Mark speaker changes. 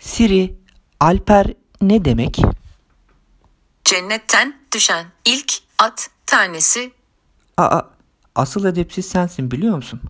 Speaker 1: Siri, Alper ne demek?
Speaker 2: Cennetten düşen ilk at tanesi
Speaker 1: Aa, asıl edepsiz sensin biliyor musun?